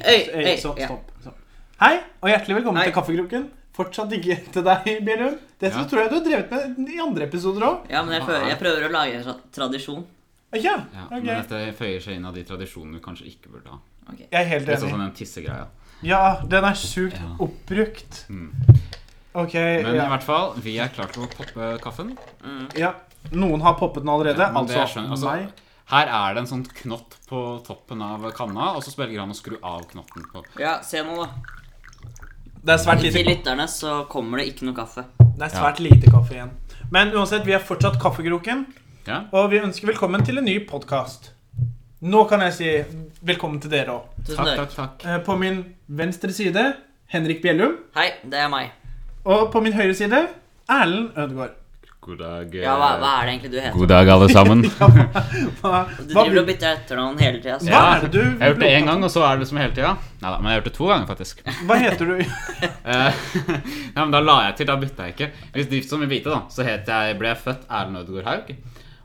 stopp. Ja. stopp, stopp. Hei, og hjertelig velkommen Hei. til Kaffekroken. Fortsatt ikke til deg, Bjellum. Dette Ja. tror jeg du har drevet med i andre episoder òg. Ja, men jeg prøver, jeg prøver å lage en sånn tradisjon. Ja, Ja, ok. Men dette føyer seg inn av de tradisjonene vi kanskje ikke burde ha. Ok. Jeg er helt Litt sånn enig. som den tissegreia. Ja, den er sjukt Ja. oppbrukt. Mm. Ok, Men i ja. hvert fall, vi er klare til å poppe kaffen. Mm. ja. Noen har poppet den allerede. Ja, men det altså, skjønner- altså- meg. Her er det en sånn knott på toppen av kanna, og så spiller han å skru av knotten på Ja, se nå, da. Det er svært lite Til lytterne så kommer det ikke noe kaffe. Det er svært lite kaffe igjen. Men uansett, vi er fortsatt Kaffekroken, Ja. og vi ønsker velkommen til en ny podkast. Nå kan jeg si velkommen til dere òg. Tusen Takk, takk. takk, takk. På min venstre side Henrik Bjellum, Hei, det er meg. og på min høyre side Erlend Ødegaard. God dag. eh, Ja, hva, hva er det egentlig du heter? God dag, alle sammen. Hva, Du hva, driver og bytter etternavn hele altså. tida. hva så- Ja. er det du Jeg har gjort det én gang, og så er det liksom hele tida. Nei da, men jeg har gjort det to ganger, faktisk. Hva heter du? Eh, ja, men da la jeg til, da bytta jeg ikke. Hvis driftssom vil vite, da, så het jeg, ble jeg født Erlend Ødegaard Haug.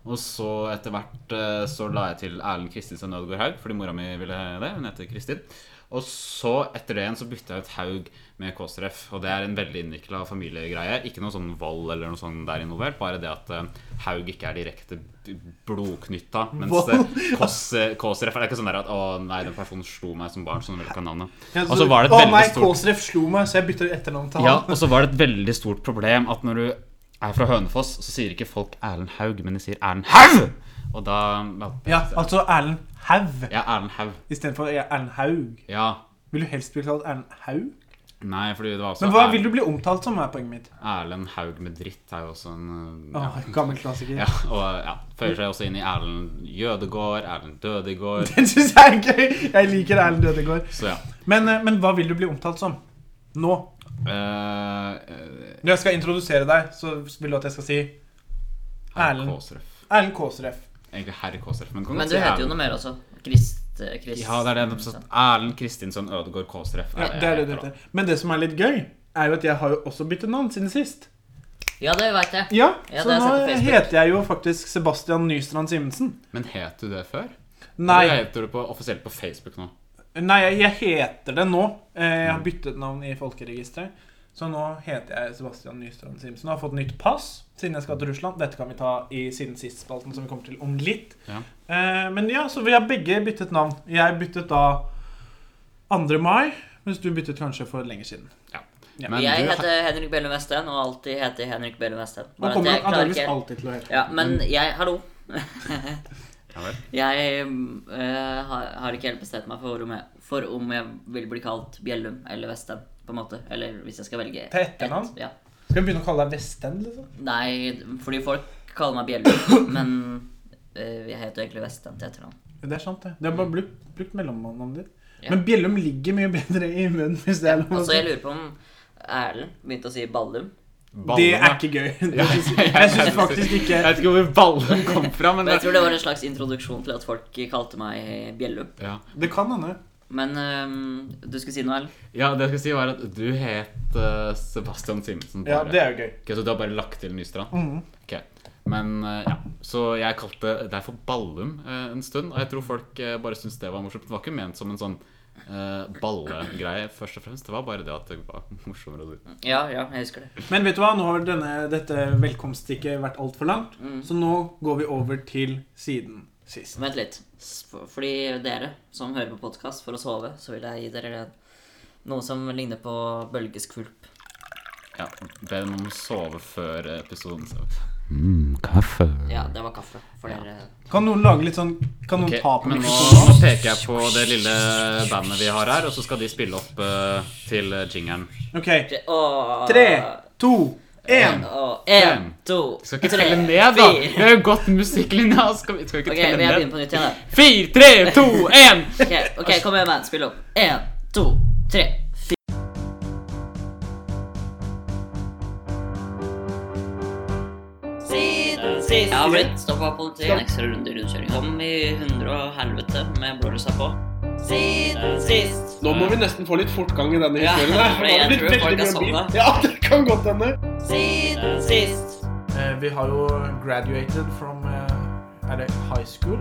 Og så etter hvert eh, så la jeg til Erlend Kristinsen Ødegaard Haug, fordi mora mi ville det. Hun heter Kristin. Og så etter det igjen så bytta jeg ut Haug med Kåsref. Og det er en veldig innvikla familiegreie. Ikke noe sånn vold eller noe sånt der involvert. Bare det at eh, Haug ikke er direkte b- blodknytta. Mens eh, Kås- Kåsref er ikke sånn der at 'Å nei, den personen slo meg som barn', så hun vil ikke ha navnet. Og så var det et Å veldig nei, stort- Kåsref slo meg, så jeg bytter etternavn til ja, han. og så var det et veldig stort problem at når du er fra Hønefoss, så sier ikke folk Erlend Haug, men de sier Erlend Haug! Og da valgte Ja, altså Erlend Haug Ja, Erlend Haug. istedenfor Erlend Haug. Ja. Vil du helst bli kalt Erlend Haug? Nei, fordi det var også Men hva Erlend- vil du bli omtalt som, er poenget mitt. Erlend Haug med dritt er jo også en øh, Åh, ja. gammel klassiker. ja, og ja, føyer seg også inn i Erlend Jødegård, Erlend Dødegård Den syns jeg er gøy! Jeg liker Erlend Ødegaard. Så ja. Men, eh, men hva vil du bli omtalt som? Nå. Eh, eh, Når jeg skal introdusere deg, så vil du at jeg skal si Herr Erlend. Kåsref. Erlend Kåsref. Egentlig herr Kåsref. Men, kan Men godt du si heter jo Erlend. noe mer også. Krist... eh, Krist Ja, det er det. det er sånn Erlend Kristinsson Ødegård Kåsref. Ja, det er det du heter. Men det som er litt gøy, er jo at jeg har jo også byttet navn siden sist. Ja, det veit jeg. Ja, Ja, det Så har jeg nå sett på Facebook. heter jeg jo faktisk Sebastian Nystrand Simensen. Men het du det før? Eller Nei, heter du på, offisielt på Facebook nå? nei, jeg- jeg heter det nå. Eh, Jeg har byttet navn i folkeregisteret. Så nå heter jeg Sebastian Nystrand Simensen og har fått nytt pass siden jeg skal til Russland. Dette kan vi ta i Siden sist-spalten, som vi kommer til om litt. Ja. Eh, men ja, så vi har begge byttet navn. Jeg byttet da 2. mai, mens du byttet kanskje for lenger siden. Ja. Men jeg du, heter Henrik Bellum Westén, og alltid heter Henrik Bellum Westén. Man Bare at kommer nok jeg klarer antakeligvis ikke helt- alltid til å hete Ja, men jeg Hallo. Ja vel. Jeg mm, eh, har, har ikke helt bestemt meg for om, jeg, for om jeg vil bli kalt Bjellum eller Western, på en måte. Eller hvis jeg skal velge Til etternavn? ett, Ja. Skal vi begynne å kalle deg Vestend, liksom? Nei, fordi folk kaller meg Bjellum, men eh, jeg heter jo egentlig Western til etternavn. Det er sant, det. Du har bare brukt, brukt mellomnavnet ditt. Ja. Men Bjellum ligger mye bedre i munnen, hvis det er lov å Altså, si. jeg lurer på om Erlend begynte å si Ballum. Det Ballen, er ja. ikke gøy. Ja, Det syns- Jeg syns faktisk ikke Jeg vet ikke hvor ballen kom fra, men Men jeg tror det var en slags introduksjon til at folk kalte meg Bjellum. ja. Det kan hende. Men eh, du skulle si noe, Erlend? ja, det jeg skulle si, var at du het eh, Sebastian Simensen. Ja, bare. det er Mhm. jo gøy. Ok, så du har bare lagt til Nystrand? Ok. Men eh, ja, Så jeg kalte deg for Ballum eh, en stund, og jeg tror folk eh, bare syntes det var morsomt. Det var ikke ment som en sånn eh, ballegreie, først og fremst. Det var bare det at det var morsommere å si. Ja, ja, jeg husker det. Men vet du hva, nå har denne, dette velkomststikket vært altfor langt, så nå går vi over til siden sist. Vent litt. S- for- Fordi dere som hører på podkast for å sove, så vil jeg gi dere noe som ligner på bølgeskvulp. Ja, Be dem om å sove før episoden. så- Mm, kaffe. Ja, det var kaffe for dere. Kan noen lage litt sånn Kan noen Ok, ta på men nå, mikrofonen? nå peker jeg på det lille bandet vi har her, og så skal de spille opp eh, til eh, jingeren. OK. Åh, Tre, to, én. Åh, en, Fem. to, Vi skal ikke telle ned, da! Vi har jo gått musikklinja. Skal vi, skal vi ikke Ok, men jeg telle begynner ned? på nytt igjen. da. Fire, tre, to, én! Ok, ok, kom igjen, man. Spill opp. En, to, tre, fire. Siden sist Jeg har blitt stoppa av politiet. En ekstra runde i rundkjøringa. Kom i hundre og helvete med blålysa på. Siden sist. Nå må vi nesten få litt fortgang i denne Ja, historien. her. for Det har jeg blitt tror folk veldig er mye sånn, bil. Ja, det kan godt hende. Siden sist. Eh, Vi har jo graduated from eh, Er det high school?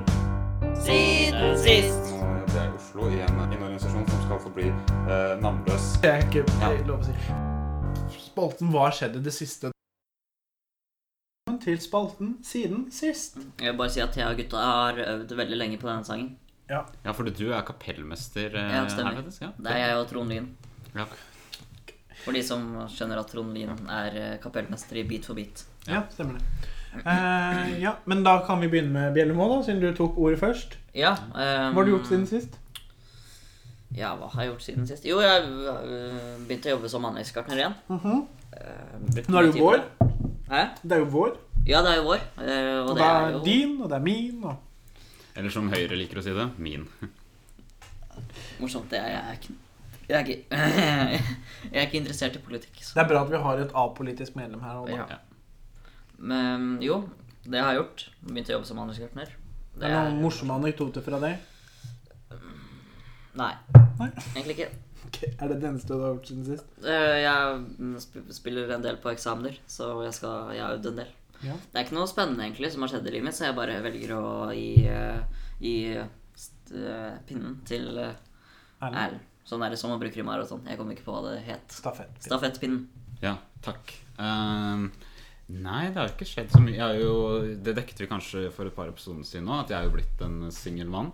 Siden sist. Det er Oslo i en, i en organisasjon som skal forbli eh, navnløs. Det er ikke Ja. lov å si. Spalten Hva har skjedd i det siste? Velkommen Til spalten siden sist. Jeg vil bare si at Thea og gutta har øvd veldig lenge på denne sangen. Ja, fordi du er kapellmester eh, Ja, stemmer. her, faktisk. Ja. Det er jeg og Trond Lyn. Ja. For de som skjønner at Trond Lyn er eh, kapellmester i Beat for beat. Ja, stemmer det. Eh, ja, Men da kan vi begynne med Bjellemo, da, siden du tok ordet først. Ja. ehm, Hva har du gjort siden sist? Ja, hva har jeg gjort siden sist? Jo, jeg øh, begynte å jobbe som anleggsgartner igjen. Mhm. Eh, Nå er det jo vår. Hæ? Det er jo vår. Ja, det er jo vår. eh, og Og det er jo din, og det er min, og Eller som Høyre liker å si det, min. morsomt. det er- Jeg er ikke jeg er, ikke, jeg er ikke interessert i politikk. Så. Det er bra at vi har et apolitisk medlem her. nå, da. Ja. Men jo, det har jeg gjort. Begynte å jobbe som anleggsgartner. Det er noen morsomme anekdoter fra deg. Nei, Nei. egentlig ikke. Ok, Er det det eneste du har gjort siden sist? Eh, Jeg mm, sp- spiller en del på eksamener, så jeg, skal, jeg har øvd en del. Ja. Det er ikke noe spennende egentlig som har skjedd i livet mitt, så jeg bare velger å gi, eh, gi st eh, pinnen til eh, Erlend? Erlend. Sånn er det som man bruker i maraton. Jeg kom ikke på hva det het. Stafett. Stafettpinnen. Ja, takk. Ehm, nei, det har ikke skjedd så mye. Jeg er jo, det dekket vi kanskje for et par episoder siden nå, at jeg er jo blitt en singel mann.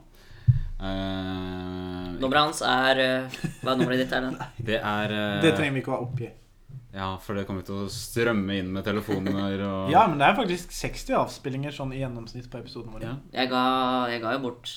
Ehm, Nummeret hans er eh, Hva er nummeret ditt, Erlend? det er eh, Det trenger vi ikke å være oppgitt. Ja, for det kommer til å strømme inn med telefoner og Ja, men det er faktisk 60 avspillinger sånn i gjennomsnitt på episoden vår. Ja. Jeg ga, jeg ga jo bort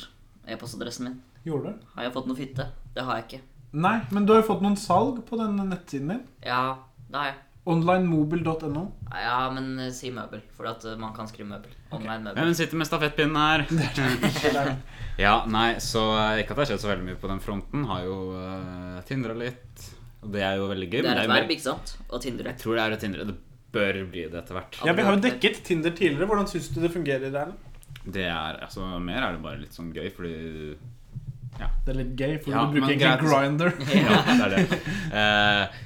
e-postadressen min. Gjorde du? Har jeg fått noe fitte? Det har jeg ikke. Nei, men du har jo fått noen salg på denne nettsiden din. Ja, det har jeg. Onlinemobile.no. Ja, men eh, si møbel, for at eh, man kan skrive møbel. Online møbel. Hvem sitter med stafettpinnen her? ja, nei, så eh, ikke at det har skjedd så veldig mye på den fronten. Har jo uh, tindra litt. Og det er jo veldig gøy. Det men er jo et mer- verb, ikke sant? Og Tinder. Jeg tror det er å tindre. Det bør bli det etter hvert. Ja, Vi har jo dekket Tinder tidligere. Hvordan syns du det fungerer? Erlend? Det er, altså, Mer er det bare litt sånn gøy, fordi Det er litt gøy, for Ja, du bruker men egentlig gratis. Grinder. Ja, det er det. Eh,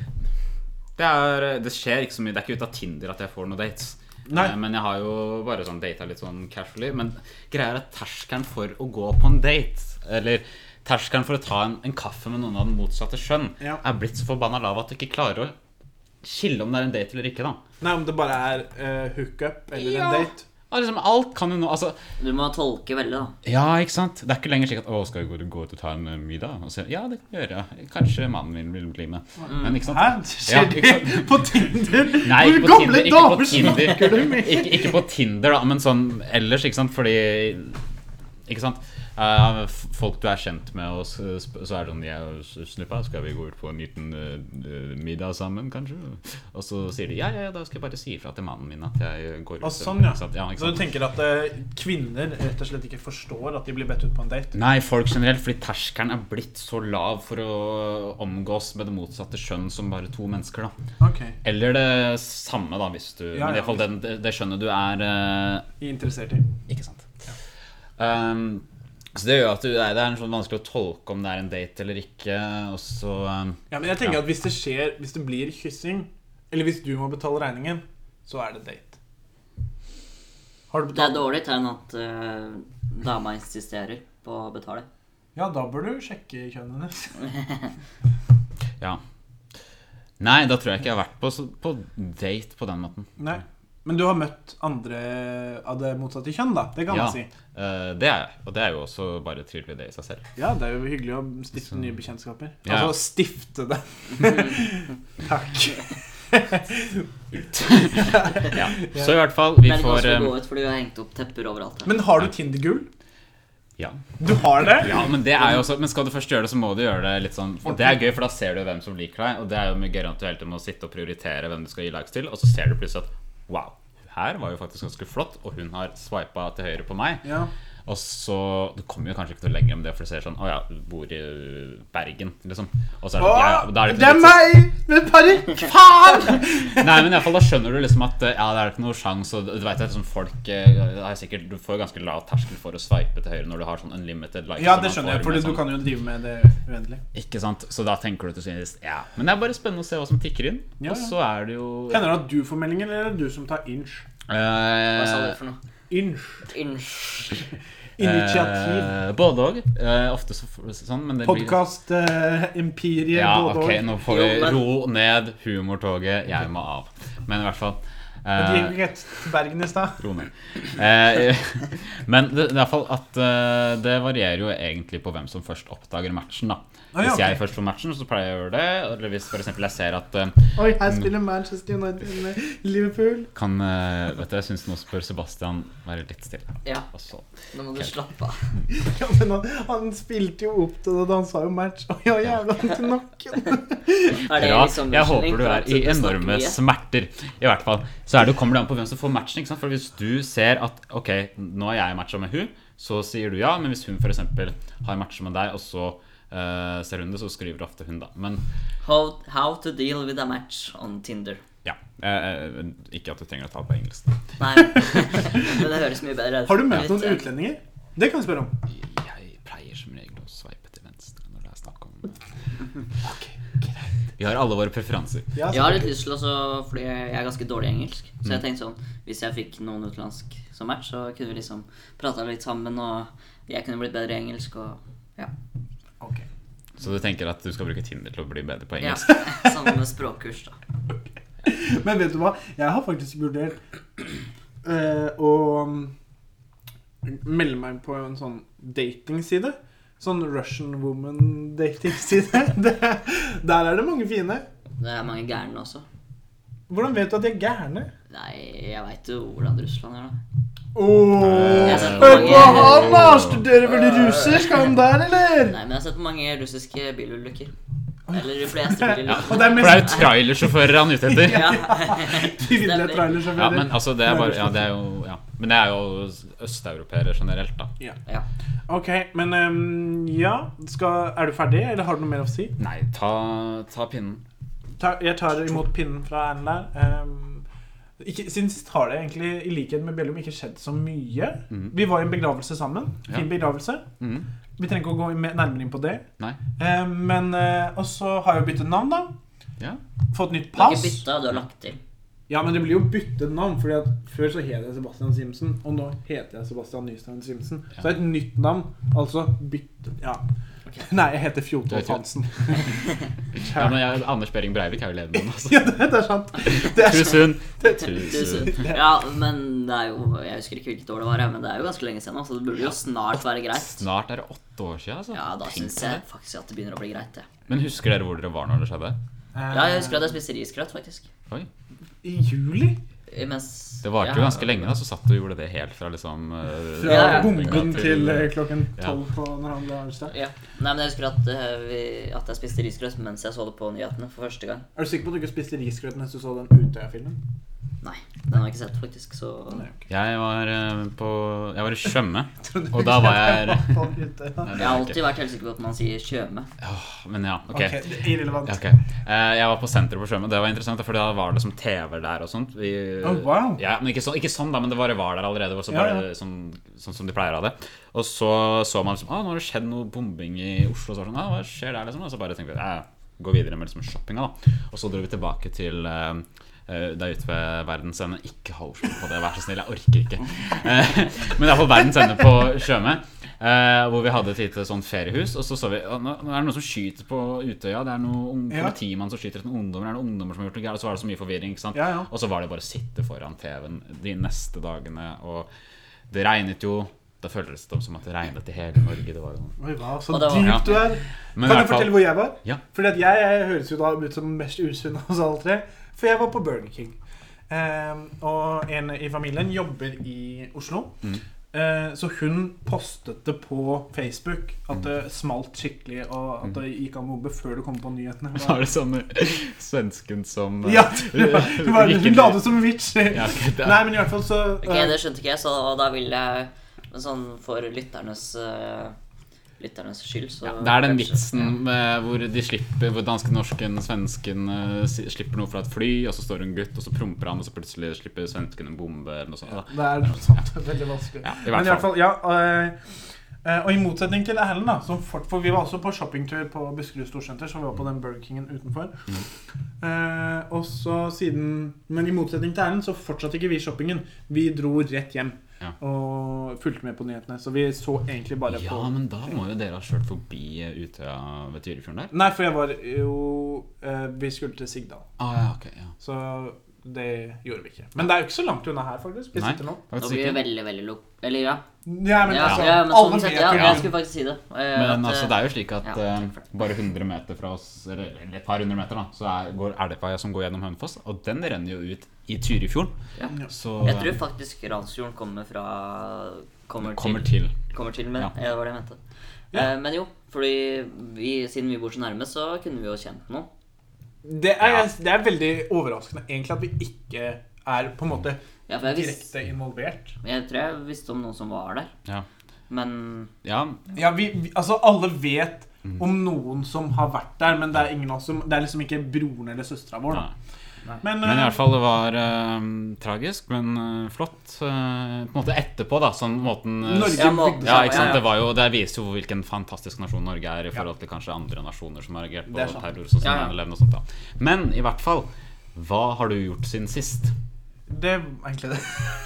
det, er, det skjer ikke så mye. Det er ikke ut av Tinder at jeg får noen dates. Nei. Eh, men jeg har jo bare sånn data litt sånn casually. Men greia er at terskelen for å gå på en date, eller terskelen for å ta en, en kaffe med noen av den motsatte skjønn, Ja. er blitt så forbanna lav at du ikke klarer å skille om det er en date eller ikke. da Nei, om det bare er eh, hookup eller Ja. en date. Ja, liksom, alt kan jo nå altså, Du må tolke veldig, da. Ja, ikke sant? Det er ikke lenger slik at 'Å, skal vi gå- gå ut og ta en eh, middag?' Og så, ja, det kan vi gjøre. Kanskje mannen min vil bli med. Men ikke sant? Hæ? Skjer Ja, det på Tinder? Nei, Hvor ikke på Tinder, ikke på damer Tinder. snakker du med? Ikke, ikke på Tinder, da, men sånn ellers, ikke sant? Fordi Ikke sant? Eh, f- folk du er kjent med, og s- sp- så er det sånn Jeg og s- Snuppa, skal vi gå ut på en liten eh, eh, middag sammen, kanskje? Og så sier de ja, ja, ja, da skal jeg bare si ifra til mannen min at jeg går ut. Og sånn, ja. Ikke sant? ja ikke Så du sant? tenker at eh, kvinner rett og slett ikke forstår at de blir bedt ut på en date? Nei, folk generelt, fordi terskelen er blitt så lav for å omgås med det motsatte skjønn som bare to mennesker, da. Ok, Eller det samme, da, hvis du Ja, Men i ja, hvert fall den, det, det skjønnet du er eh, Interessert i. Ikke sant. Um, så det gjør at du, nei, det er en sånn vanskelig å tolke om det er en date eller ikke, og så um, Ja, men jeg tenker Ja. at hvis det skjer, hvis det blir kyssing, eller hvis du må betale regningen, så er det date. Har du Det er betalt? dårlig tegn at eh, dama insisterer på å betale. Ja, da bør du sjekke kjønnet hennes. Ja. Nei, da tror jeg ikke jeg har vært på, så- på date på den måten. Nei. Men du har møtt andre av det motsatte kjønn, da. Det kan Ja, man si. eh, det er jeg. Og det er jo også bare trivelig, det i seg selv. Ja, det er jo hyggelig å stifte nye bekjentskaper. Ja. Altså stifte det. Takk. Ja. Så i hvert fall, vi Det er litt får vanskelig å um, gå ut fordi vi har hengt opp tepper overalt her. Men har du Tinder-gull? um, Ja. Du har det? Ja, men det er jo også Men skal du først gjøre det, så må du gjøre det litt sånn Og det er gøy, for da ser du hvem som liker deg, og det er jo mye gøyere enn at du hele tiden må sitte og prioritere hvem du skal gi likes til, og så ser du plutselig at wow, hun her var jo faktisk ganske flott, og hun har swipa til høyre på meg. Ja. Og så Du kommer jo kanskje ikke til lenger med det, for du ser sånn Å ja, du bor i Bergen, liksom. Og så er det, ja, ja, da er det, det er litt- meg med parykk! Faen! Nei, men i alle fall, da skjønner du liksom at eh, ja, det er ikke noe sjans, og du vet at liksom folk eh, er sikkert, Du får jo ganske lav terskel for å sveipe til høyre når du har sånn unlimited likes. Ja, som det man skjønner jeg, for får med du sånn- kan jo drive med det uendelig. Ikke sant? Så da tenker du til syvende og sist ja. Men det er bare spennende å se hva som tikker inn. Ja, Og ja. så er det jo Hender det at du får meldinger, eller er det du som tar inch? Eh, Hva sa du for noe? Inch. Unnskyld. Initiativ. Eh, både òg. Eh, ofte så, sånn, men det blir- Podkast eh, Imperiet. Ja, både ok, og. nå får Jo, vi men- ro ned humortoget. Jeg må av. Men i hvert fall Men De eh, gikk jo rett til Bergen i stad. Ro ned. Eh, men det, det er i hvert fall at eh, det varierer jo egentlig på hvem som først oppdager matchen. da Ah, ja, Hvis jeg ok. først får matchen, så pleier jeg å gjøre det. Eller hvis for eksempel jeg ser at eh, Oi, her spiller Manchester United med Liverpool. kan, eh, Vet du, jeg syns nå spør Sebastian være litt stille. Ja, Og så nå må du slappe av. Ja, men han, han spilte jo opp til det da han sa jo match. Oi, ja, jævla han til nakken. Er det Bra. liksom Jeg unnskyldning håper du for er at i snakker enorme mye? smerter. I hvert fall. Så er det, kommer det an på hvem som får matchen. Ikke sant? For hvis du ser at ok, nå er jeg matcha med hun, så sier du ja. Men hvis hun f.eks. har matcha med deg, og så eh, ser hun det, så skriver ofte hun, da. Men How, how to deal with a match on Tinder. ja. eh, eh, ikke at du trenger å ta det på engelsk. da. Nei, men det høres mye bedre ut. Har du møtt Litt, noen eh, utlendinger? Det kan vi spørre om. Jeg pleier som regel å sveipe til venstre når det er snakk om Vi har alle våre preferanser. Ja, Jeg har litt lyst til å så- Fordi jeg er ganske dårlig i engelsk. Så Mm. jeg tenkte sånn Hvis jeg fikk noen utenlandsk som match, så kunne vi liksom prata litt sammen, og jeg kunne blitt bedre i engelsk, og ja. Ok. Så du tenker at du skal bruke Tinder til å bli bedre på ja. engelsk? Sammen med språkkurs, da. Men vet du hva? Jeg har faktisk vurdert eh, å mm, melde meg på en sånn datingside. Sånn Russian woman-datingside. Det- Der er det mange fine. Det er mange gærne også. Hvordan vet du at de er gærne? Nei, jeg veit jo hvordan Russland er, da. Åh, Jeg ser Hør mange- på han, da! Studerer vel russer? Skal han der, eller? Nei, men jeg har sett mange russiske bilulykker. Eller de fleste Og bilulykker. det er For det er jo mest trailersjåfører han er ute etter. Ja. kvinnelige Ja, trailersjåfører. men altså, det er bare Ja, det er jo ja. Men det er jo østeuropeere generelt, da. ja. Ok, men ehm, ja skal, Er du ferdig, eller har du noe mer å si? Nei, ta, ta pinnen. Ta, jeg tar imot pinnen fra Erlend der. Ehm, ikke, siden sist har det egentlig, i likhet med Bellum, ikke skjedd så mye. Mhm. Vi var i en begravelse sammen. Fin Ja. begravelse. Mm. Vi trenger ikke å gå i- nærmere inn på det. Nei. Ehm, men eh, Og så har jeg jo byttet navn, da. Ja. Fått nytt Du har pass. ikke bytta, du har lagt til. Ja, men det blir jo byttet navn, Fordi at før så het jeg Sebastian Simsen, og nå heter jeg Sebastian Nystrand Simsen. Så det er et nytt navn. Altså bytte Ja. Nei, jeg heter Fjotolf Du heter- Hansen. ja men jeg, Anders Behring Breivik er jo ledende, altså. Ja, det, det er sant. Det er sant. Tusen. Tusen. Tusen. Ja, men det er jo Jeg husker ikke hvilket år det var, ja, men det er jo ganske lenge siden, nå, så det burde jo snart være greit. Snart er det åtte år siden, altså. Ja, da Tenk syns på jeg det. faktisk at det begynner å bli greit, det. Men husker dere hvor dere var når det skjedde? Ja, jeg husker at jeg spiste risgrøt, faktisk. Oi. I juli? I- Mens Det varte ja. jo ganske lenge, da, så satt du og gjorde det helt fra liksom eh, Fra Ja, ja. bomben til eh, klokken Ja. tolv på når han ble arrestert. Ja. Nei, men jeg husker at, eh, vi, at jeg spiste risgrøt mens jeg så det på nyhetene for første gang. Er du sikker på at du ikke spiste risgrøt mens du så den Utøya-filmen? Nei, den har jeg ikke sett, faktisk, så Jeg var eh, på Jeg var i Tjøme, og da var jeg jeg Nei, det Jeg har var jeg ikke. alltid vært helt sikker på at man sier kjøme. Åh, Men ja, Ok, ok. det er irrelevant. Ja, ok. Eh, jeg var på senteret på Sjømen. Det var interessant, for da var det liksom TV der og sånt. Vi- Oh, wow. ja, men ikke, så, ikke sånn, da, men det bare var der allerede. Og så Ja, var ja. det sånn, sånn som de pleier av det. Og så så man liksom ah, nå har det skjedd noe bombing i Oslo. Og så var det sånn, ah, hva skjer der liksom Og så bare tenkte vi eh, gå videre med liksom shoppinga, da. Og så dro vi tilbake til eh, eh, der ute ved verdens ende. Ikke ha Oslo på det, vær så snill. Jeg orker ikke. Eh, men det er på verdens ende på Sjøme. eh, hvor vi hadde et lite sånn feriehus. Og så så vi «Å, nå, nå er det noen som skyter på Utøya. Det er noen Ja. politimann som skyter etter noen ungdommer. Er det noen ungdommer som har gjort noe gærent? Og så var det så mye forvirring. ikke sant? Ja, ja. Og så var det bare å sitte foran TV-en de neste dagene. Og det regnet jo. Da føltes det som at det regnet i hele Norge. Det var jo Oi, hva, så Og det var- dypt du er. Men i kan jeg hvert fall- fortelle hvor jeg var? Ja. Fordi at jeg, jeg høres jo da ut som den mest usunn av oss alle tre. For jeg var på Burger King. Ehm, og en i familien jobber i Oslo. Mm. Eh, så hun postet det på Facebook Mm. at det smalt skikkelig, og at det gikk an å bombe før det kom på nyhetene. Så var det sånn svensken som eh, Ja, det var, det var, gikk hun inn- la det som en vits. Ja, ok, det- Nei, men i hvert fall så Ok, eh, Det skjønte ikke jeg, så da vil jeg men Sånn for lytternes eh, Lytternes skyld, så Ja, det er den kanskje- vitsen med hvor de slipper Hvor dansken, norsken, svensken eh, si- slipper noe fra et fly, og så står det en gutt, og så promper han, og så plutselig slipper svensken en bombe eller noe sånt. Da. Det er noe sånt. Veldig vanskelig. Ja, i hvert Men i hvert fall, ja. eh, eh, Og i motsetning til Erlend, da, som fort, for vi var også på shoppingtur på Buskerud Storsenter, så vi var på den Burger Kingen utenfor. Mm. Eh, og så siden Men i motsetning til Erlend så fortsatte ikke vi shoppingen. Vi dro rett hjem. Ja. Og fulgte med på nyhetene. Så vi så egentlig bare Ja, på men da må jo dere ha kjørt forbi eh, Utøya ved Tyrifjorden der. Nei, for jeg var jo eh, Vi skulle til Sigdal, Ah, ja, ok, ja. så det gjorde vi ikke. Men det er jo ikke så langt unna her, faktisk. Vi Nei, sitter nå. Nå faktisk blir det ikke. veldig, veldig lo... Eller ja. Ja, men Ja, altså, ja, men alle sånn sett, vet ja, jo jeg skulle faktisk si det. Men altså, det er jo slik at Eh, Ja, eh, takk for det. bare 100 meter fra oss, eller eller et par hundre meter, da, så er, går elva som går gjennom Hønefoss, og den renner jo ut i Tyrifjorden. Ja. Så Jeg tror faktisk Randsfjorden kommer fra Kommer til. kommer til. Kommer til men, Ja. ja. det var det jeg mente. Ja. Eh, men jo, fordi vi, siden vi bor så nærme, så kunne vi jo kjent noen. Det er, Ja. det er veldig overraskende egentlig at vi ikke er på en måte Ja, for jeg, visste- direkte involvert. jeg tror jeg visste om noen som var der, Ja. men ja, Ja, vi, vi, altså alle vet Mm. om noen som har vært der, men det er ingen av oss som Det er liksom ikke broren eller søstera vår. da. Nei. Men, Men i eh, hvert fall, det var eh, tragisk, men eh, flott. eh, på en måte etterpå, da. Sånn måten eh, Norge Ja, må- bygde Ja, seg ikke opp. sant? ja. Det, var jo, det viser jo hvilken fantastisk nasjon Norge er i forhold til kanskje andre nasjoner som har reagert på Det er sant. terror. Sånn som Ja, ja. 9/11 og sånt da Men i hvert fall, hva har du gjort siden sist? Det er egentlig det.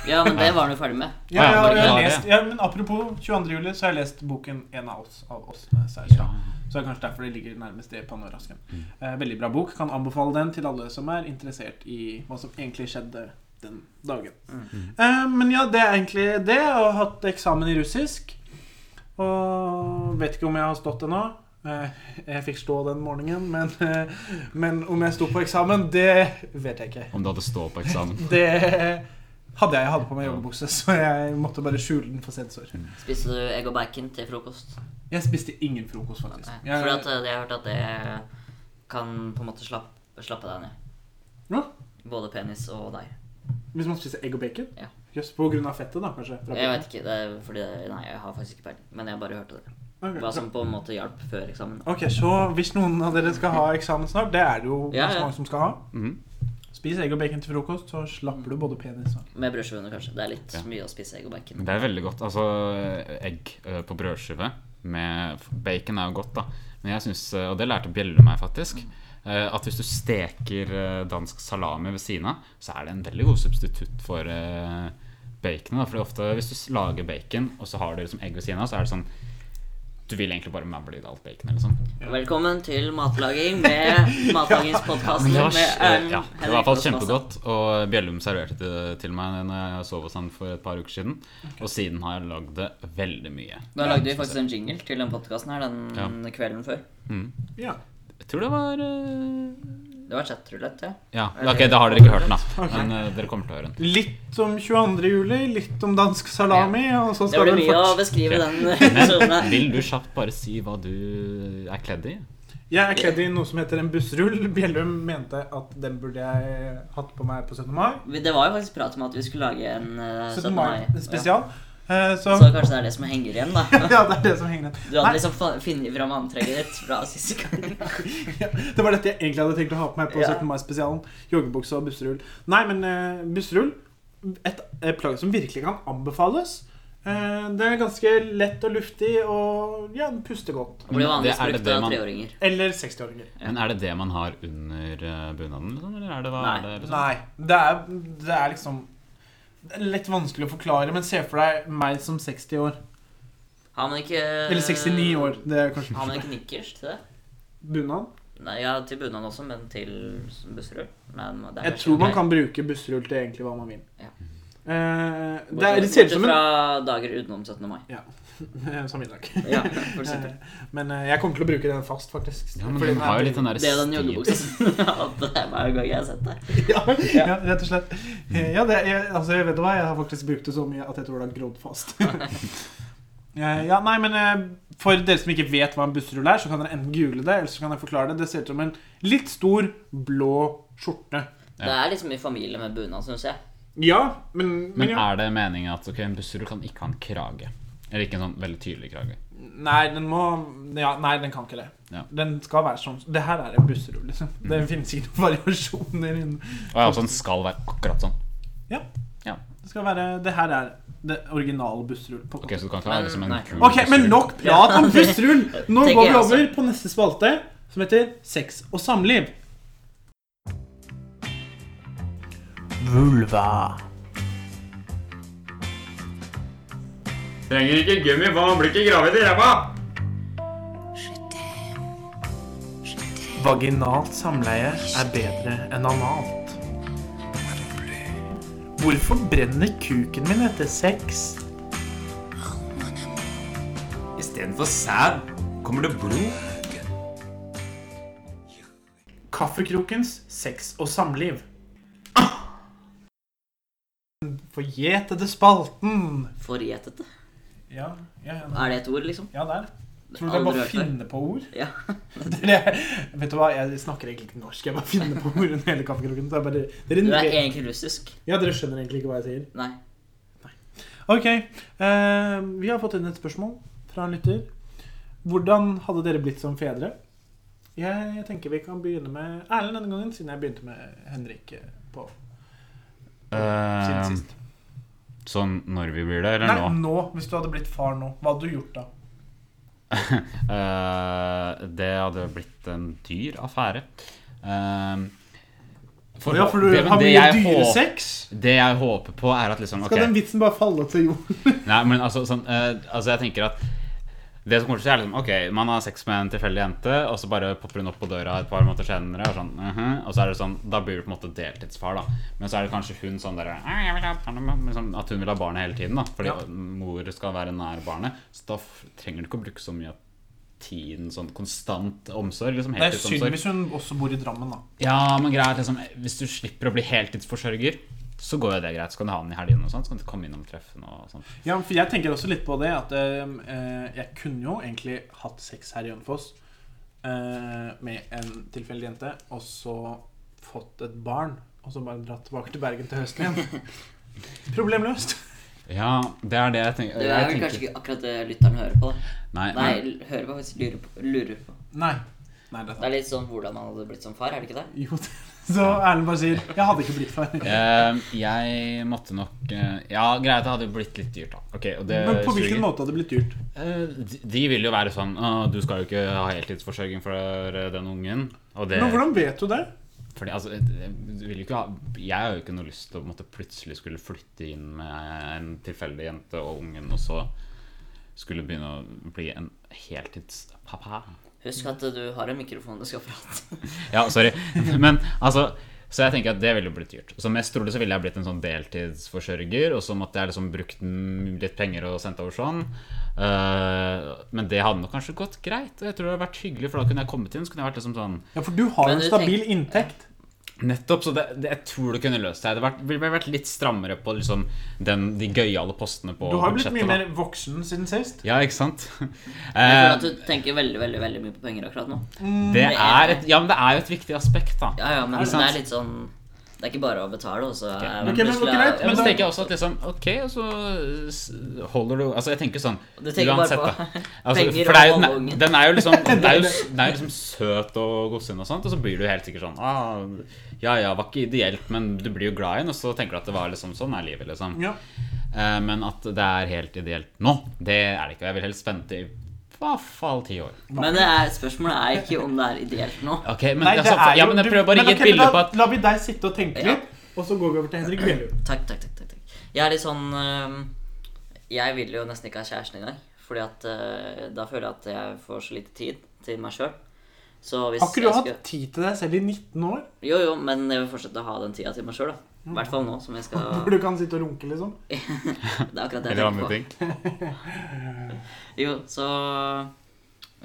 Ja, men det var han jo ferdig med. Ja, Ja, jeg, men jeg, har det er lest, ja, men apropos 22. juli, så har jeg lest boken 'En av oss' eh, av Åsne Seierstad. Så det er kanskje derfor det ligger nærmest det panorasken. Eh, veldig bra bok. Kan anbefale den til alle som er interessert i hva som egentlig skjedde den dagen. Mm. Eh, men ja, det er egentlig det. Jeg har hatt eksamen i russisk. Og vet ikke om jeg har stått ennå. Eh, Jeg fikk stå den morgenen, men, eh, men om jeg sto på eksamen, det vet jeg ikke. Om du hadde stå på eksamen? Det hadde jeg. Jeg hadde på meg joggebukse, så jeg måtte bare skjule den for sensor. Spiste du egg og bacon til frokost? Jeg spiste ingen frokost, faktisk. Nei. Jeg, Fordi at eh, jeg har hørt at det kan på en måte slappe, slappe deg ned. Ja. Både penis og deg. hvis man spiser egg og bacon? Ja. Jøss, på grunn av fettet, da, kanskje? fra Jeg bacon? vet ikke, det er fordi Nei, jeg har faktisk ikke peiling. Men jeg bare hørte det. Ok, Hva bra. som på en måte hjalp før eksamen. Ok, så hvis noen av dere skal ha eksamen snart, det er det jo Ja, ganske ja. mange som skal ha, Mhm. spis egg og bacon til frokost, så slapper du både penis og Med brødskive under, kanskje. Det er litt Ja. mye å spise egg og bacon. Det er veldig godt. Altså, egg eh, på brødskive med bacon er jo godt, da. Men jeg syns, eh, og det lærte Bjelle meg faktisk, eh, at hvis du steker eh, dansk salami ved siden av, så er det en veldig god substitutt for eh, baconet. da. For ofte hvis du s- lager bacon, og så har du liksom egg ved siden av, så er det sånn Du vil egentlig bare mable i deg alt baconet, liksom. Velkommen til matlaging med matlagingspodkasten Men det var, Altså, med eh, Erlend ja, det var i hvert fall kjempegodt, og Bjellum serverte det til meg når jeg sov hos han for et par uker siden. Og siden har jeg lagd det veldig mye. Da lagde vi faktisk en jingle til den podkasten her den kvelden før. Ja. Jeg tror det var eh, Det var chatrulett, ja. Ja, Eller- ok, da har dere ikke hørt den, da. Men eh, dere kommer til å høre den. Litt om 22. juli, litt om dansk salami, og så Det skal blir vi mye å fortsette. beskrive Ja. den episoden her. Vil du kjapt bare si hva du er kledd i? Jeg er kledd i noe som heter en bussrull. Bjellum mente at den burde jeg hatt på meg på 17. mai. Vi- Det var jo faktisk prat om at vi skulle lage en eh, 17. 17. mai. mai spesial. Eh, Ja. Så Så kanskje det er det som henger igjen, da. Ja, det er det som henger Du igjen. hadde liksom fa- funnet fram antrekket ditt fra siste gang. Det var dette jeg egentlig hadde tenkt å ha på meg på Ja. 17. mai-spesialen. Joggebukse og busserull. Nei, men eh, busserull Et eh, plagg som virkelig kan anbefales. Eh, det er ganske lett og luftig og ja, den puster godt. Det blir vanligvis Det er det brukt det av man- treåringer. Eller 60-åringer. Men Er det det man har under eh, bunaden, liksom? Eller er det hva Nei. er det, liksom? Nei. Det er, det er liksom det er Litt vanskelig å forklare, men se for deg meg som 60 år. Har man ikke Eller 69 Eh. år. Det er kanskje Har man ikke nikkers til det? bunad. Nei, ja, til bunad også, men til Buskerud. Men det er Jeg kanskje tror man greit. kan bruke busserull til egentlig hva man vil. Ja. Eh, det, er, Bortsett- det ser ut som en bortsett fra dager utenom 17. mai. Samme middag. Ja, for eksempel. Men eh, jeg kommer til å bruke den fast, faktisk. Ja, men Fordi den har er- jo litt den derre Det er den stil joggebuksa som jeg hadde hver gang jeg har sett det. ja, ja, rett og slett. Mm. Eh, Ja, det, jeg, altså, jeg vet du hva, jeg har faktisk brukt det så mye at jeg tror det har grodd fast. Eh, ja, nei, men eh, For dere som ikke vet hva en busserull er, så kan dere enten google det, eller så kan jeg forklare det. Det ser ut som en litt stor, blå skjorte. Ja. Det er liksom i familie med bunad, syns jeg. Ja, men, men Men ja. er det meningen at ok, en busserull kan ikke ha en krage? Eller ikke en sånn veldig tydelig krage? Nei, den må ja, Nei, den kan ikke det. Ja. Mm. Den skal være sånn. Det her er en busserull, liksom. Det finnes ikke noen variasjoner innen Og ja, altså, den skal være akkurat sånn. Ja. Ja. Det skal være Det her er det originale busserull. på en Ok, måte. så du kan ikke ha Men- liksom en nei. kul Ok, men busserull. nok prat om busserull! Nå Tenker går vi jeg også. over på neste spalte, som heter Sex og samliv. Vulva. Trenger ikke gummi, for man blir ikke gravid i ræva! Vaginalt samleie er bedre enn analt. Hvorfor brenner kuken min etter sex? Istedenfor sæd kommer det blod. Kaffekrokens sex og samliv. Forgjetede spalten. Forgjetete. Ja, ja, ja. Er det et ord, liksom? ja der. Tror du Aldri jeg bare hørt før. finner på ord? Ja. Det er, det- vet du hva, jeg snakker egentlig ikke norsk. Jeg bare finner på ord under hele kaffekroken. Det er bare, dere, Du er egentlig russisk? ja, dere skjønner egentlig ikke hva jeg sier. Nei. Ok, eh, vi har fått inn et spørsmål fra en lytter. Hvordan hadde dere blitt som fedre? Jeg, jeg tenker vi kan begynne med Erlend denne gangen, siden jeg begynte med Henrik eh, på siden sist. Eh, sånn når vi blir det, Nei, nå. Hvis du hadde blitt far nå, hva hadde du gjort da? Eh, det hadde blitt en dyr affære. Eh, for- ja, for du det- men har det mye jeg håp- dyresex. Det jeg håper på, er at liksom Skal ok, den vitsen bare falle til jorden? Nei, men altså, sånn, eh, altså Jeg tenker at det som kommer til å skje, er liksom Ok, man har sex med en tilfeldig jente, og så bare popper hun opp på døra et par måneder senere, og sånn mhm, Og så er det sånn Da blir du på en måte deltidsfar, da. Men så er det kanskje hun sånn derre «Nei, jeg vil ha barn», liksom, At hun vil ha barnet hele tiden, da. Fordi Ja. mor skal være nær barnet. Så da f- trenger du ikke å bruke så mye av tiden sånn konstant omsorg. Liksom, Det er synd heltidsomsorg. hvis hun også bor i Drammen, da. Ja, men greia er at liksom, hvis du slipper å bli heltidsforsørger, så går jo det greit. Så kan du ha den i helgene og sånn. Så kan du komme innom treffen og sånn. Ja, for jeg tenker også litt på det at ehm, eh, jeg kunne jo egentlig hatt sex her i Hønefoss eh, med en tilfeldig jente, og så fått et barn, og så bare dratt tilbake til Bergen til høsten igjen. Problemløst. Ja, det er det jeg tenker. Det er jeg vel tenker- kanskje ikke akkurat det lytteren hører på. da. Nei, Nei, men, l- hører på faktisk lurer på. Lurer på. Nei. Nei, det er Det sant. er litt sånn hvordan man hadde blitt som far, er det ikke det? Jo, det- så Erlend bare sier 'Jeg hadde ikke blitt far'. eh, jeg måtte nok eh, Ja, greit, det hadde jo blitt litt dyrt, da. Ok, og det Men på suger. hvilken måte hadde det blitt dyrt? Eh, de- de vil jo være sånn «Å, Du skal jo ikke ha heltidsforsørging for eh, den ungen. Og det Men hvordan vet du det? fordi, altså, du vil jo ikke ha, Jeg har jo ikke noe lyst til å måtte plutselig skulle flytte inn med en tilfeldig jente og ungen, og så skulle begynne å bli en heltidspappa. Husk at du har en mikrofon du skal prate. Ja, sorry. Men altså Så jeg tenker at det ville blitt dyrt. Så mest trolig så ville jeg blitt en sånn deltidsforsørger, og så måtte jeg liksom brukt m- litt penger og sendt over sånn. Eh, men det hadde nok kanskje gått greit. Og jeg tror det hadde vært hyggelig, for da kunne jeg kommet inn. Så kunne jeg vært liksom sånn Ja, for du har Men en du stabil inntekt. Nettopp, så det, det, jeg tror det kunne løst seg. Det hadde vært, ville vært litt strammere på liksom den, de gøyale postene på Du har jo blitt mye budsjettet, da. mer voksen siden sist. Ja, ikke sant? Jeg føler at Eh, du tenker veldig veldig, veldig mye på penger akkurat nå. det er et, ja, men det er jo et viktig aspekt, da. Ja, ja, men Ikke det sant? er litt sånn Det er ikke bare å betale, og så er Ok, men plutselig- ok, greit, Ja, da- men så tenker jeg også at liksom Ok, og så s- holder du Altså, jeg tenker sånn Du tenker bare på Altså, penger for det og er, jo- holde ungen. den, den er jo liksom Den er jo, den er jo liksom søt og godsinn og sånt, og så blir du helt sikkert sånn ah, Ja ja, var ikke ideelt, men du blir jo glad i den, og så tenker du at det var liksom sånn er livet, liksom. Ja. Eh, men at det er helt ideelt nå, det er det ikke. Og jeg vil helst vente i hvert fall ti år. Men det er, spørsmålet er ikke om det er ideelt nå. Ok, men, Nei, det altså, er jo ja, men jeg du- prøver bare å men gi ok, et men bilde da på at La vi deg sitte og tenke Ja. litt, og så går vi over til Henrik Bjellum. Takk, takk, takk, takk, takk. Jeg er litt sånn øhm, Jeg vil jo nesten ikke ha kjæresten engang. Fordi at øh, da føler jeg at jeg får så lite tid til meg sjøl. Så hvis Har ikke du jeg hatt tid til deg selv i 19 år? Jo, jo, men jeg vil fortsette å ha den tida til meg sjøl, da. I hvert fall nå som jeg skal Hvor du kan sitte og runke, liksom? Det er akkurat det jeg tenker Eller andre på. ting. Jo, så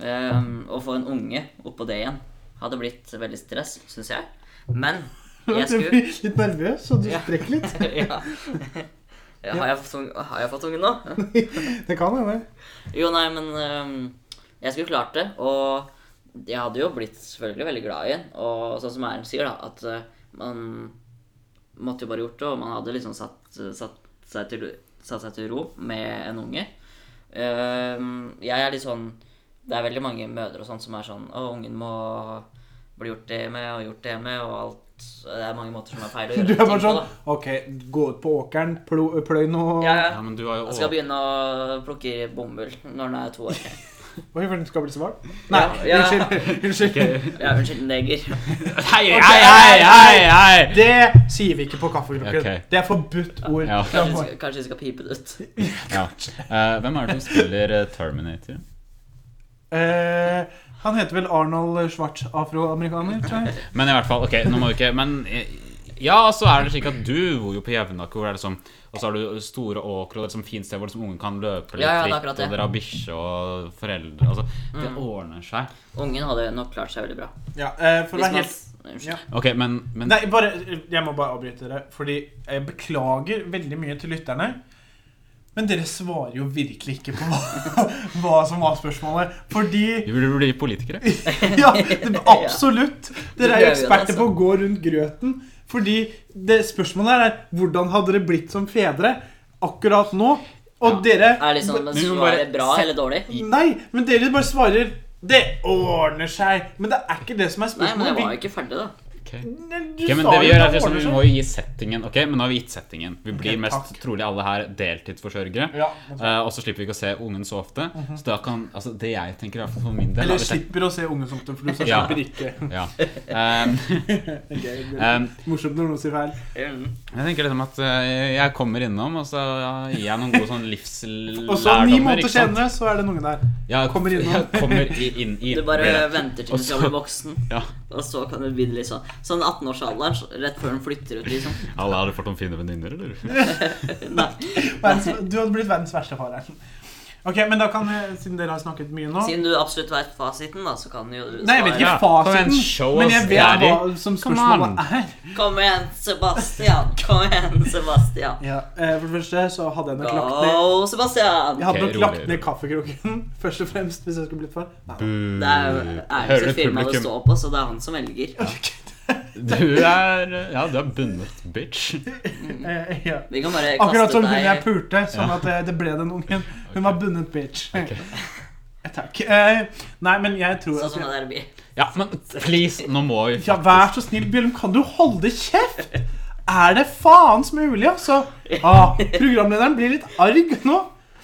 øhm, Å få en unge oppå det igjen hadde blitt veldig stress, syns jeg. Men jeg Du skulle blir litt nervøs, og du Ja. strekker litt. ja. Har jeg fått unge- har jeg fått ungen nå? Det kan hende. Jo, nei, men øhm, jeg skulle klart det, og jeg hadde jo blitt selvfølgelig veldig glad i den. Og sånn som Erlend sier, da, at øh, man måtte jo bare gjort det, og man hadde liksom satt, satt, seg, til, satt seg til ro med en unge. Øhm, jeg er litt sånn Det er veldig mange mødre og sånn som er sånn Å, ungen må bli gjort det med og gjort det med, og alt Det er mange måter som er feil å gjøre Du er bare ting på, sånn da. OK, gå ut på åkeren, plo- pløy noe Ja, ja. Ja, men du har jo Jeg skal begynne å plukke bomull når den er to år. Oi, for den skal bli så varm. Ja, Nei, ja. unnskyld. unnskyld. Ja, unnskyld, neger. Hei, hei, hei, hei, hei! Det sier vi ikke på kaffekroken. Ok. Det er forbudt ord. Ja. Det er Kanskje vi for- skal, kanskje vi skal pipe det ut. Ja. Eh, hvem er det som spiller eh, Terminator? Eh, han heter vel Arnold Schwartz, afroamerikaner, tror jeg. Men i hvert fall, ok, nå må vi ikke Men eh, ja, så er det slik at du bor jo på Jevnaker, hvor det er liksom Og så har du store åkre, og det er liksom fint sted hvor liksom ungen kan løpe litt Ja, ja, det er fritt, akkurat og det. Mm. dere har bikkje og foreldre Altså, det ordner seg. Ungen hadde nok klart seg veldig bra. Ja, eh, for å Hvis være man, helt unnskyld. ja. Ok, men, men Nei, bare, jeg må bare avbryte dere, fordi jeg beklager veldig mye til lytterne. Men dere svarer jo virkelig ikke på hva, hva som var spørsmålet. Fordi vi burde bli politikere. Ja, det- absolutt! Dere er jo Det gjør vi, eksperter altså. på å gå rundt grøten. Fordi det spørsmålet her er hvordan hadde dere blitt som fedre akkurat nå? Og dere Er det liksom, men Men vi må så er bare det bra se- eller dårlig? Nei, men dere bare svarer 'Det ordner seg'. Men det er ikke det som er Nei, men jeg spørsmålet. var jo ikke ferdig, da. Vi- Ok. du Ok, men sa det Vi jo gjør at er liksom, ordner vi seg. må jo gi settingen. Ok, Men nå har vi gitt settingen. Vi blir Ok, mest takk. trolig alle her deltidsforsørgere. Ja, må ta. Eh, og så slipper vi ikke å se ungen så ofte. Så da kan, altså Det jeg tenker, i hvert fall for min del Eller er hvis jeg- slipper å se unge som tøffer, for du så Ja. slipper ikke. ja. Ehm, ehm, Morsomt når noen sier feil. Jeg tenker liksom at eh, jeg kommer innom, og så ja, gir jeg noen gode sånn livslærdommer. Og så ni måneder ikke sant? senere så er det en unge der. Ja, jeg kommer innom. Jeg kommer i, inn i Du bare blir det. venter til Og du så- skal bli voksen, Ja, og så kan du begynne litt sånn. Sånn 18-årsalderen, så- rett før den flytter ut, liksom. Alle hadde fått noen fine venninner, eller? Nei. Verdens, du hadde blitt verdens verste far her. Ok, men da kan vi, siden dere har snakket mye nå Siden du absolutt vet fasiten, da, så kan jo du Nei, jeg vet ikke Ja, kom igjen, fasiten, show men jeg us, vet Daddy. hva som Come on. spørsmålet er. Kom igjen, Sebastian! Kom igjen, Sebastian! Ja, eh, for det første så hadde jeg nok lagt ned Go, Sebastian! jeg hadde Ok, nok lagt rolig. ned kaffekroken, først og fremst, hvis jeg skulle blitt far. Nei, da. Det er jo Hører Eriksen du firma det publikum? står på, så det er han som velger. Du er Ja, du er bundet, bitch. Eh, ja. Vi kan bare Akkurat kaste som hun jeg deg pulte, sånn Ja. at eh, det ble den ungen. Hun var bundet bitch. Takk. Eh, Nei, men jeg tror sånn at som det jeg, der blir. Ja, men please, nå må vi Ja, vær så snill, Bjørn, kan du holde kjeft? Er det faens mulig, altså? Ah, programlederen blir litt arg nå.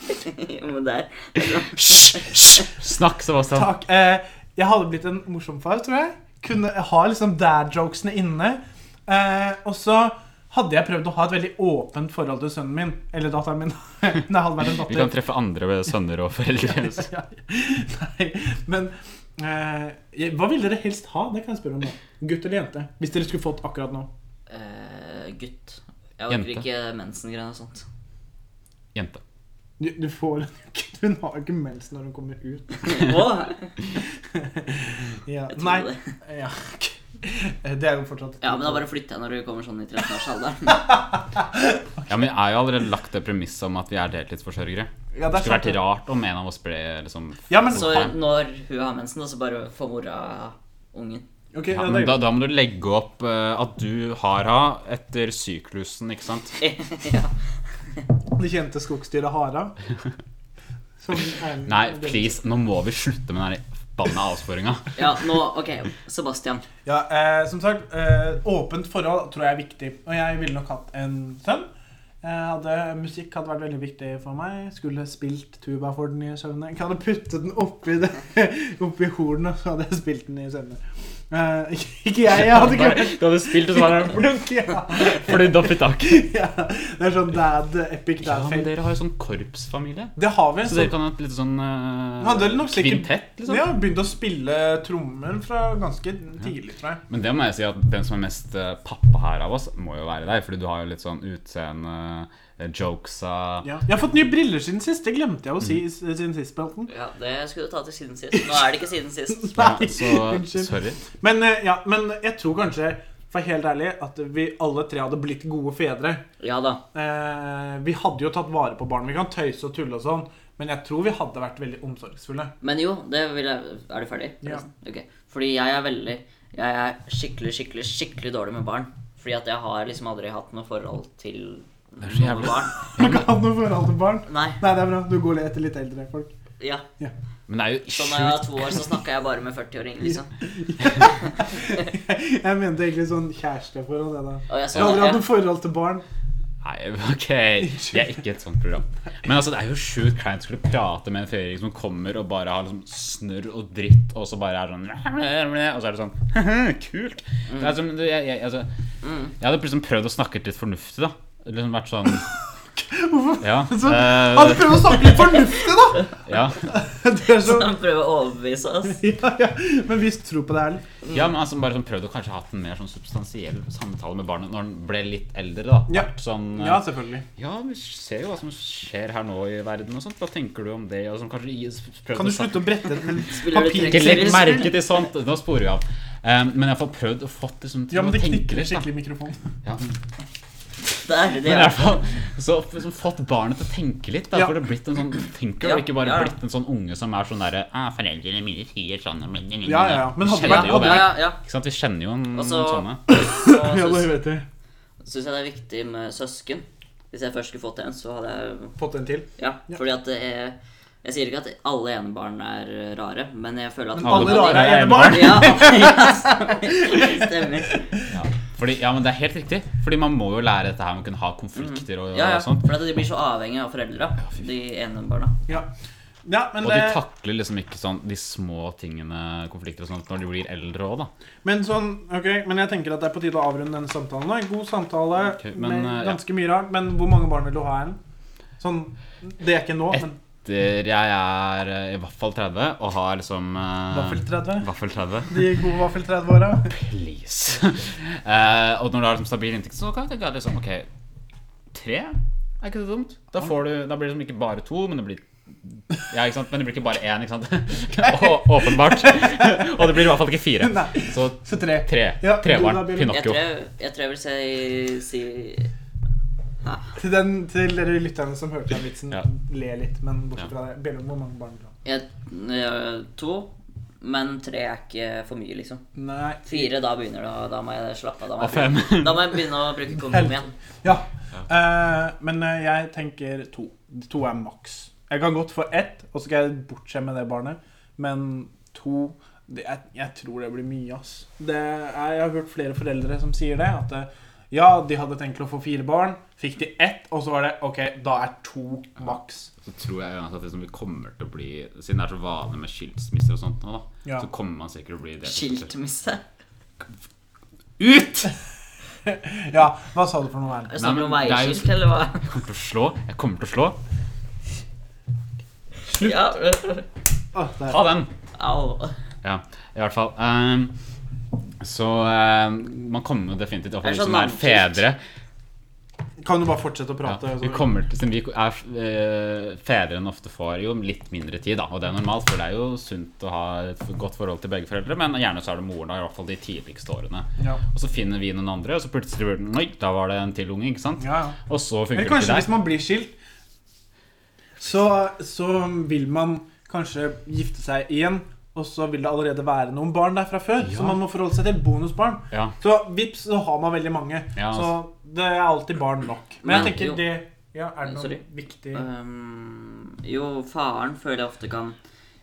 Jo, Men der. Hysj! hysj. Snakk, Sebastian. Takk. Eh, jeg hadde blitt en morsom far, tror jeg. Kunne ha liksom dad-jokesene inne. Eh, og så hadde jeg prøvd å ha et veldig åpent forhold til sønnen min. Eller datteren min. Nei, det hadde vært en Vi datter. kan treffe andre sønner og foreldre. Ja. Nei, men eh, jeg- Hva ville dere helst ha? Det kan jeg spørre om nå. Gutt eller jente? Hvis dere skulle fått akkurat nå. Eh, gutt. Jeg orker Jente. ikke mensengreier og sånt. Jente. Du, du får Hun har jo ikke mens når hun kommer ut. Åh, Ja. jeg Nei. trodde det. Ja. Det er jo fortsatt Ja, men da bare flytter jeg når du kommer sånn i 13-årsalderen. Ja, men jeg har jo allerede lagt det premisset om at vi er deltidsforsørgere. Ja, Det det er skulle sant. vært rart om en av oss ble liksom Ja, men, Så når hun har mensen, da, så bare får mora ungen. Ok, Ja, ja, men det da, da må du legge opp eh, at du har henne etter syklusen, ikke sant? ja. Det kjente skogsdyret hara. Som er- Nei, please, nå må vi slutte med den der forbanna avsporinga. ja, nå OK, Sebastian. Ja, eh, som sagt, eh, åpent forhold tror jeg er viktig. Og jeg ville nok hatt en sønn. Jeg hadde, musikk hadde vært veldig viktig for meg. Skulle spilt tuba for den i søvne. Jeg hadde puttet den oppi, det, oppi hornet, og så hadde jeg spilt den i søvne. Eh, ikke jeg, jeg hadde ikke vært Du hadde spilt, og så var det ja, flydd opp i taket. ja. Det er sånn dad, epic Ja, dad men fail. dere har jo sånn korpsfamilie. Det har vi. Så Så, dere kan ha et lite sånn eh, Ja, det er nok sikkert- kvintett, liksom. ja, begynte å spille trommer fra ganske tidlig, tror jeg. Men det må jeg si at den som er mest eh, pappa her av oss, må jo være deg. Fordi du har jo litt sånn utseende, eh, jokesa Ja. Jeg har fått nye briller siden sist. Det glemte jeg å si Mm. i- siden sist. Belten. Ja, det skulle du ta til siden sist. Nå er det ikke siden sist. ja, Nei, Så unnskyld. sorry. Men, eh, ja, men jeg tror kanskje, for helt ærlig, at vi alle tre hadde blitt gode fedre. Ja da. Eh, vi hadde jo tatt vare på barn. Vi kan tøyse og tulle og sånn, men jeg tror vi hadde vært veldig omsorgsfulle. Men jo, det vil jeg Er du ferdig? Ja. forresten? Ok. Fordi jeg er veldig Jeg er skikkelig, skikkelig, skikkelig dårlig med barn. Fordi at jeg har liksom aldri hatt noe forhold til er så noen jævlig. barn. Du kan ha noe forhold til barn. Nei. Nei, det er bra. Du går etter litt eldre folk. Ja. Men det Sånn er jo Så når jeg var sjukt to år, så snakka jeg bare med 40-åringer, liksom. Jeg mente egentlig sånn kjæresteforhold, det da. Og Du jeg har så aldri hatt jeg, noe forhold til barn. Nei, ok, det er ikke et sånt program. Men altså, det er jo sjukt kleint å skulle prate med en fyr som kommer og bare har liksom snørr og dritt, og så bare er sånn Og så er det sånn Kult! Det er som, jeg, jeg, altså, jeg hadde liksom prøvd å snakke litt fornuftig, da. Liksom vært sånn Ja. Så- eh, Han prøver å snakke litt fornuftig, da! ja. Det er så, Han prøver å overbevise oss. ja, ja. Men vi tror på det, ærlig. ja, men altså, bare sånn prøvd å kanskje hatt en mer sånn substansiell samtale med barnet når han ble litt eldre, da. Ja. Vært Sånn, eh, Ja, selvfølgelig. Ja, vi ser jo hva som skjer her nå i verden og sånt. Hva tenker du om det? Og sånn, kanskje, gi- prøvd Kan du å snakke- slutte å brette den Spiller du Papir- Ikke legg Seriøst? merke til sånt! Nå sporer vi av. Um, men jeg har fått prøvd å fått liksom, til Ja, men å det tenke knikker litt. Da. skikkelig i mikrofonen. Ja. Men Der, det i er hvert fall så liksom, fått barnet til å tenke litt. Da, Ja. For det har blitt en sånn tenker, Ja, og ikke bare ja, ja. blitt en sånn unge som er sånn derre ah, 'Foreldrene mine sier sånn' men- Ja, ja, ja. Men hadde Vi det vært- kjenner jo hadde det. Ja, ja, ja. Ikke sant? Vi kjenner jo en, Og noen så- sånne. Ja, Så det syns- vet jeg. syns jeg det er viktig med søsken. Hvis jeg først skulle fått en, så hadde jeg Fått en til. Ja, Ja. fordi at det er Jeg sier ikke at alle enebarn er eh, rare, men jeg føler at Men alle rare er er enebarn. Ja, stemmer. Ja. Fordi, ja, men det er helt riktig. Fordi man må jo lære dette her med å kunne ha konflikter og, Mm. Ja, ja, og sånt. for at de blir så avhengige av foreldre, de enebarna. Ja. ja, men, Og de eh, takler liksom ikke sånn de små tingene, konflikter og sånt, når de blir eldre òg, da. men sånn, ok, men jeg tenker at det er på tide å avrunde denne samtalen. nå. En god samtale Ok, men, med eh, ja. ganske mye rart. Men hvor mange barn vil du ha? En? Sånn, Det er ikke nå, men Der jeg er eh, i hvert fall 30 og har liksom eh, vaffel 30? Vaffel 30. De gode vaffel 30-åra? Please. Eh, og når du har liksom stabil inntekt, så kan det liksom OK, tre? Er ikke det dumt? Da, får du, da blir det liksom ikke bare to, men det blir ja, ikke sant? Men det blir ikke bare én, ikke sant? Å- Åpenbart. Og det blir i hvert fall ikke fire. Nei. Så Så tre. tre. Ja, Trebarn. Jonah Bill. Jeg Pinocchio. tror jeg, jeg, tror jeg vil si, si Til, den, til dere lytterne som hørte den vitsen, Ja. le litt. Men bortsett Ja. fra det, Bjellum, hvor mange barn vil du ha? jeg, eh, to, men tre er ikke for mye, liksom. Nei. Fire, da begynner det å Da må jeg slappe av. Da, må jeg Og fem. begynne- da må jeg begynne å bruke kondom igjen. Ja. Eh, men eh, jeg tenker to. To er maks. Jeg kan godt få ett, og så skal jeg bortskjemme det barnet. Men to det, jeg, jeg tror det blir mye, ass. Det er, jeg har hørt flere foreldre som sier det. At eh, ja, de hadde tenkt å få fire barn, fikk de ett, og så var det OK, da er to maks. Så tror jeg uansett at liksom det kommer til å bli Siden det er så vanlig med skilsmisser og sånt nå, da, Ja. så kommer man sikkert til å bli det. Skiltmisse. Ut! Ja, hva sa du for noe, Erlend? Er det sånn Nei, noe men det er jo- veiskilt, eller hva? Jeg kommer til å slå. Jeg kommer til å slå. Ja. Å, der. Ta den! Au. Ja, i hvert fall. ehm, så ehm, man kommer jo definitivt til å få Det de er så som er navnskilt. fedre. Kan du bare fortsette å Ja, prate? vi kommer til, siden vi er eh, fedrene ofte får jo litt mindre tid, da. Og det er normalt, for det er jo sunt å ha et godt forhold til begge foreldre. Men gjerne så er det moren, da, i hvert fall de tidligste årene. Ja. Og så finner vi noen andre, og så plutselig blir det Oi, da var det en til unge, ikke sant? Ja, ja. Og så funker Eller det kanskje ikke hvis der. man blir skilt, så, så vil man kanskje gifte seg igjen. Og så vil det allerede være noen barn der fra før, Ja. så man må forholde seg til bonusbarn. Ja. Så vips, så har man veldig mange. Ja, altså. Så det er alltid barn nok. Men jeg Men- tenker jo. det ja, Er det noe Sorry. viktig Ehm, jo, faren føler jeg ofte kan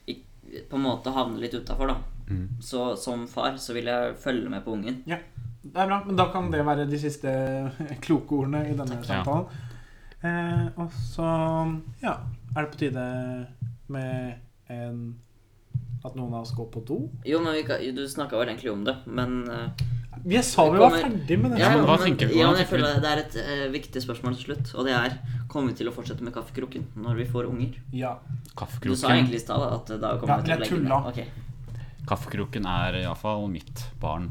ik- på en måte havne litt utafor, da. Mm. Så som far så vil jeg følge med på ungen. Ja, det er bra. Men da kan det være de siste kloke ordene i denne Ja. samtalen. Eh, og så ja, er det på tide med en At noen av oss går på do? Jo, men vi kan, du snakka vel egentlig om det, men eh, Jeg sa vi var ferdig med den. Ja, men hva men- tenker du? Ja, Hvordan men jeg tenker du? føler Det er et eh, viktig spørsmål til slutt, og det er Kommer vi til å fortsette med kaffekroken når vi får unger? Ja. Du sa Kaffekroken, egentlig i stad at eh, da Ja, kommer vi til å jeg legge tulla. ned. Ok. kaffekroken er iallfall mitt barn.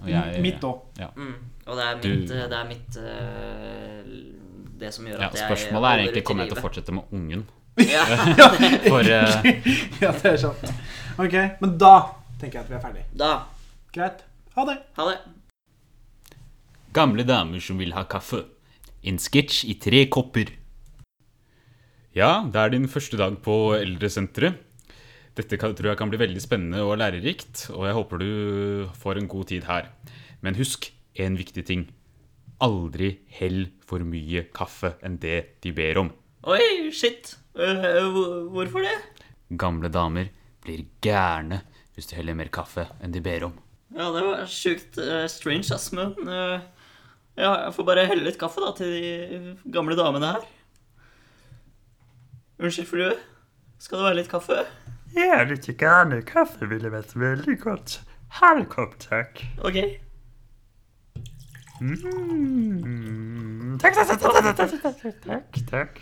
Og jeg- Mitt òg. Mm. Og det er Du- mitt, eh, det, er mitt eh, det som gjør Ja, at jeg spørsmålet er holder egentlig ut i kommer jeg til å livet. fortsette med ungen. Ja, For eh, ja, det er sant. Ok, Men da tenker jeg at vi er ferdig. da. Greit. Ha det. Ha det. Gamle damer som vil ha kaffe. En sketsj i tre kopper. Ja, det er din første dag på eldresenteret. Dette kan, tror jeg kan bli veldig spennende og lærerikt, og jeg håper du får en god tid her. Men husk en viktig ting. Aldri hell for mye kaffe enn det de ber om. Oi, shit. Eh, hvor- hvorfor det? Gamle damer blir gærne hvis du heller mer kaffe enn de ber om. Ja, det var sjukt eh, strange, ass, men eh, Ja, jeg får bare helle litt kaffe da til de gamle damene her. Unnskyld, frue. Skal det være litt kaffe? Ja, litt grann kaffe ville vært veldig godt. Halv kopp, takk. Ok. Mm. Takk, takk, takk, takk, takk, takk, takk, takk, takk.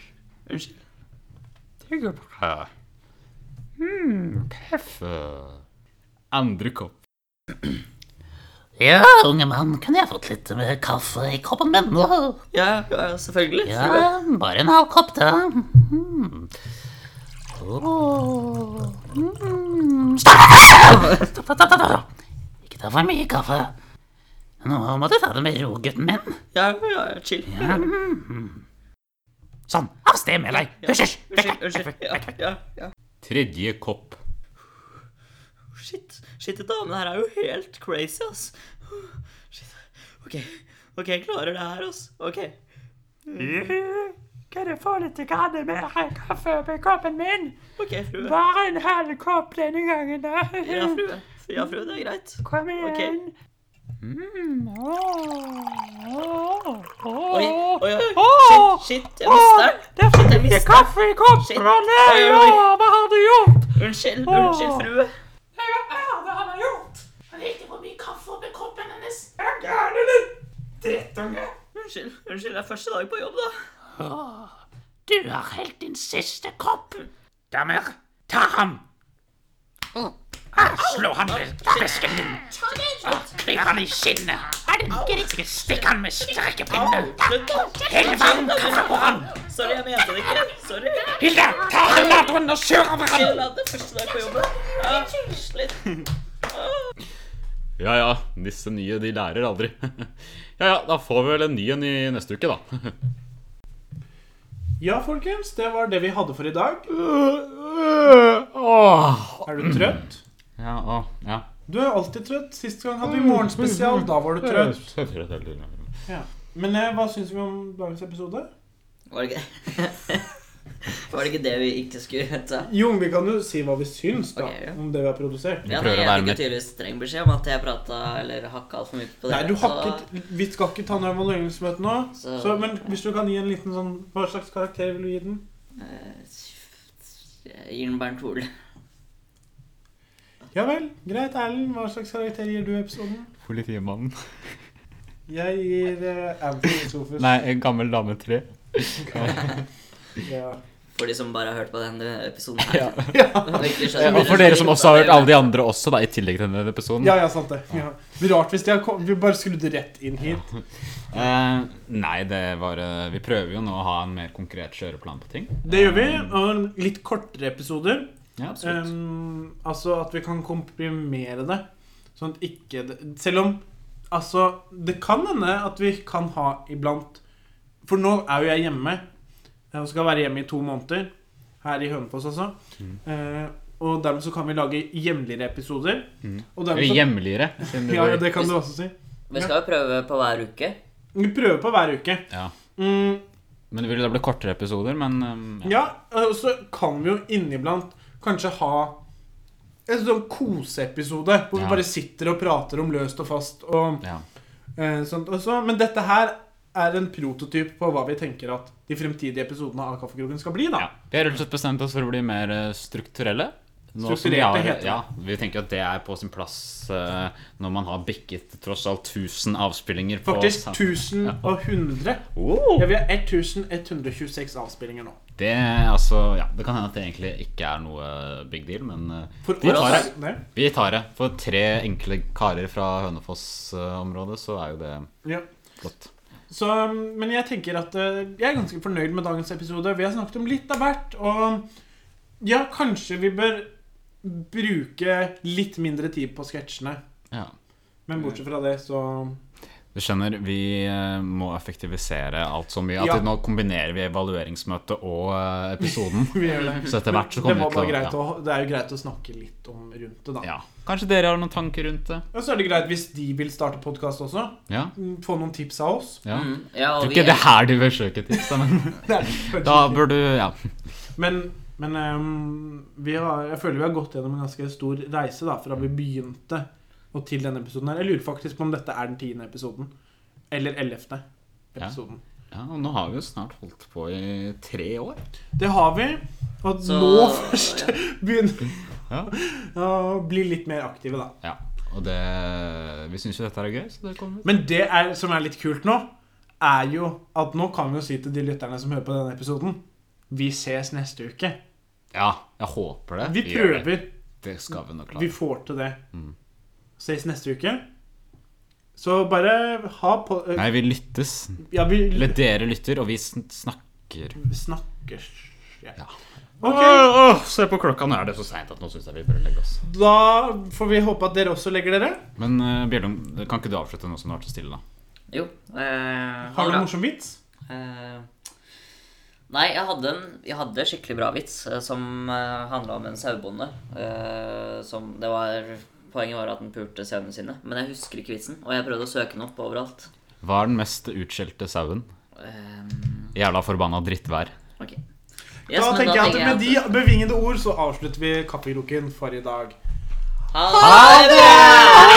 Unnskyld. Det går bra. Hmm, Mm, kaffe. Andre kopp. Ja, unge mann, kunne jeg fått litt eh, kaffe i koppen min? Åh, Ja, ja selvfølgelig. Ja, frue. bare en halv kopp, da. Mm. Åh, mm. Stopp, stopp, stopp, stopp. Ikke ta for mye kaffe. Nå må du ta det med ro, gutten min. Ja, ja, ja, chill. Ja. mm. Sånn, av sted med deg. Hysj, hysj. Vekk, Unnskyld, vekk, unnskyld. vekk, Ja, vekk, vekk. ja, ja. Tredje kopp. Shit, shit, de damene her er jo helt crazy, ass. Shit. Ok, ok, jeg klarer det her, ass. Ok. Ja, Kan jeg få litt grann mer kaffe oppi koppen min? Ok, frue. Bare en halv kopp denne gangen, da. Ja, frue. Ja, frue, det er greit. Kom igjen. Ok. Mm, åh, åh, åh. Oi, oi, oi. Åh! Shit, shit, jeg mister den. Det er for mye kaffe i Shit. koppen! Nei, Oi, oi. åh, hva har du gjort? Unnskyld, Åh. unnskyld, frue. Nei, hva er det han har gjort? Unnskyld, unnskyld, det er første dag på jobb, da. Du har helt din siste kopp. Damer, ta ham. Ah, slå ham med vesken din. Ah, Knip ham i skinnet. Ikke stikk ham med strekkepinne. Slutt, da. Hell varm kaffe på ham. Sorry, jeg mente det ikke. Sorry. Hilde, ta ham laderen og kjør over ham. Unnskyld, det er første dag på jobb. Ja, slitt. Ja ja, disse nye de lærer aldri. ja ja, da får vi vel en ny en i neste uke, da. Ja, folkens, det var det vi hadde for i dag. Er du trøtt? Ja, å, ja. Du er alltid trøtt. Sist gang hadde vi morgenspesial. Da var du trøtt. Ja. Men eh, hva syns vi om dagens episode? Var det ikke Var det ikke det vi ikke skulle ta? Jo, vi kan jo si hva vi syns da, Ok, ja. om det vi har produsert. Ja, prøver nei, å jeg være fikk jo med. tydeligvis streng beskjed om at jeg prata eller hakka altfor mye på Nei, dere. du har så- ikke, Vi skal ikke ta noe evalueringsmøte nå. Så- Så, men hvis du kan gi en liten sånn Hva slags karakter vil du gi den? Jeg gir den bare en toer. Ja vel. Greit. Erlend, hva slags karakter gir du episoden? Politimannen. Jeg gir eh, Anthony Sofus. en gammel dame tre. Ja. For de som bare har hørt på denne episoden her. Ja. Og ikke skjønner- Og for dere som også har hørt alle de andre også, da, i tillegg til denne episoden. ja, ja, sant det. Ja. Rart hvis de har kom, vi bare skrudde rett inn hit. Eh, nei, det var eh, Vi prøver jo nå å ha en mer konkret kjøreplan på ting. Det gjør vi. Og litt kortere episoder. Ja, absolutt. Ehm, altså at vi kan komprimere det. Sånn at ikke det, Selv om Altså, det kan hende at vi kan ha iblant For nå er jo jeg hjemme. Og skal være hjemme i to måneder. Her i Hønefoss, altså. Eh, og dermed så kan vi lage hjemligere episoder. Og Eller dermed så, hjemligere. siden det ja, var- det kan du også si. Vi skal jo prøve på hver uke. Vi prøver på hver uke. Ja. Mm, Men det vil da bli kortere episoder, men ehm, ja. Ja, og så kan vi jo inniblant kanskje ha en sånn koseepisode hvor Ja. vi bare sitter og prater om løst og fast og Ja. eh, sånt. Og så, men dette her er en prototyp på hva vi tenker at de fremtidige episodene av Kaffekroken skal bli, da. ja. Vi har rett og slett bestemt oss for å bli mer eh, strukturelle. Nå som vi Strukturerte har- heter det. ja, Vi tenker at det er på sin plass eh, når man har bikket tross alt 1000 avspillinger. På Faktisk sam- 1100. Oh! Ja, vi har 1126 avspillinger nå. Det er altså Ja, det kan hende at det egentlig ikke er noe big deal, men eh, For vi tar oss det. Nei. Vi tar det. For tre enkle karer fra Hønefoss-området, så er jo det Ja. flott. Så, um, men jeg tenker at eh, jeg er ganske fornøyd med dagens episode. Vi har snakket om litt av hvert, og ja, kanskje vi bør bruke litt mindre tid på sketsjene. Ja. Men bortsett fra det, så Du skjønner, vi eh, må effektivisere alt så mye at Ja. nå kombinerer vi evalueringsmøtet og eh, episoden. vi gjør det. Så etter hvert så Det, kommer var vi bare til greit å, det er jo greit å snakke litt om rundt det, da. ja. Kanskje dere har noen tanker rundt det? Og så er det greit hvis de vil starte podkast også. Ja? Mm, Få noen tips av oss. ja. Mm. Ja, Jeg og tror vi ikke det er her du bør søke tips, da, men Det er kanskje da ikke- bør du Ja. Men, men ehm, vi har, jeg føler vi har gått gjennom en ganske stor reise da, fra vi begynte og til denne episoden. her. Jeg lurer faktisk på om dette er den tiende episoden. Eller ellevte episoden. Ja, og nå har vi jo snart holdt på i tre år. Det har vi. Og Så- nå først begynner Ja. vi å bli litt mer aktive, da. Ja, og det Vi syns jo dette er gøy, så det kommer ut. Men det er, som er litt kult nå, er jo at nå kan vi jo si til de lytterne som hører på denne episoden Vi ses neste uke. Ja, jeg håper det. Vi gjør det. prøver. Det skal vi nok Vi klare. får til det. Mm. Ses neste uke. Så bare ha på eh, Nei, vi lyttes. Ja, vi Eller dere lytter, og vi sn- snakker. snakkes Ja. Ok, Åh, åh, se på klokka, nå er det så seint at nå syns jeg vi bør legge oss. da får vi håpe at dere også legger dere. Men eh, Bjellum, kan ikke du avslutte nå som du har vært så stille, da? Jo. Eh, ha Har det du bra. en morsom vits? Eh, nei, jeg hadde, en, jeg hadde skikkelig bra vits eh, som uh, handla om en sauebonde. eh, som det var, poenget var at den pulte sauene sine. Men jeg husker ikke vitsen, og jeg prøvde å søke den opp overalt. Hva er den mest utskjelte sauen? Eh, Jævla forbanna drittvær. ok. Yes, Da men tenker jeg at med de jeg bevingede ord så avslutter vi Kaffekroken for i dag. at- Ha det!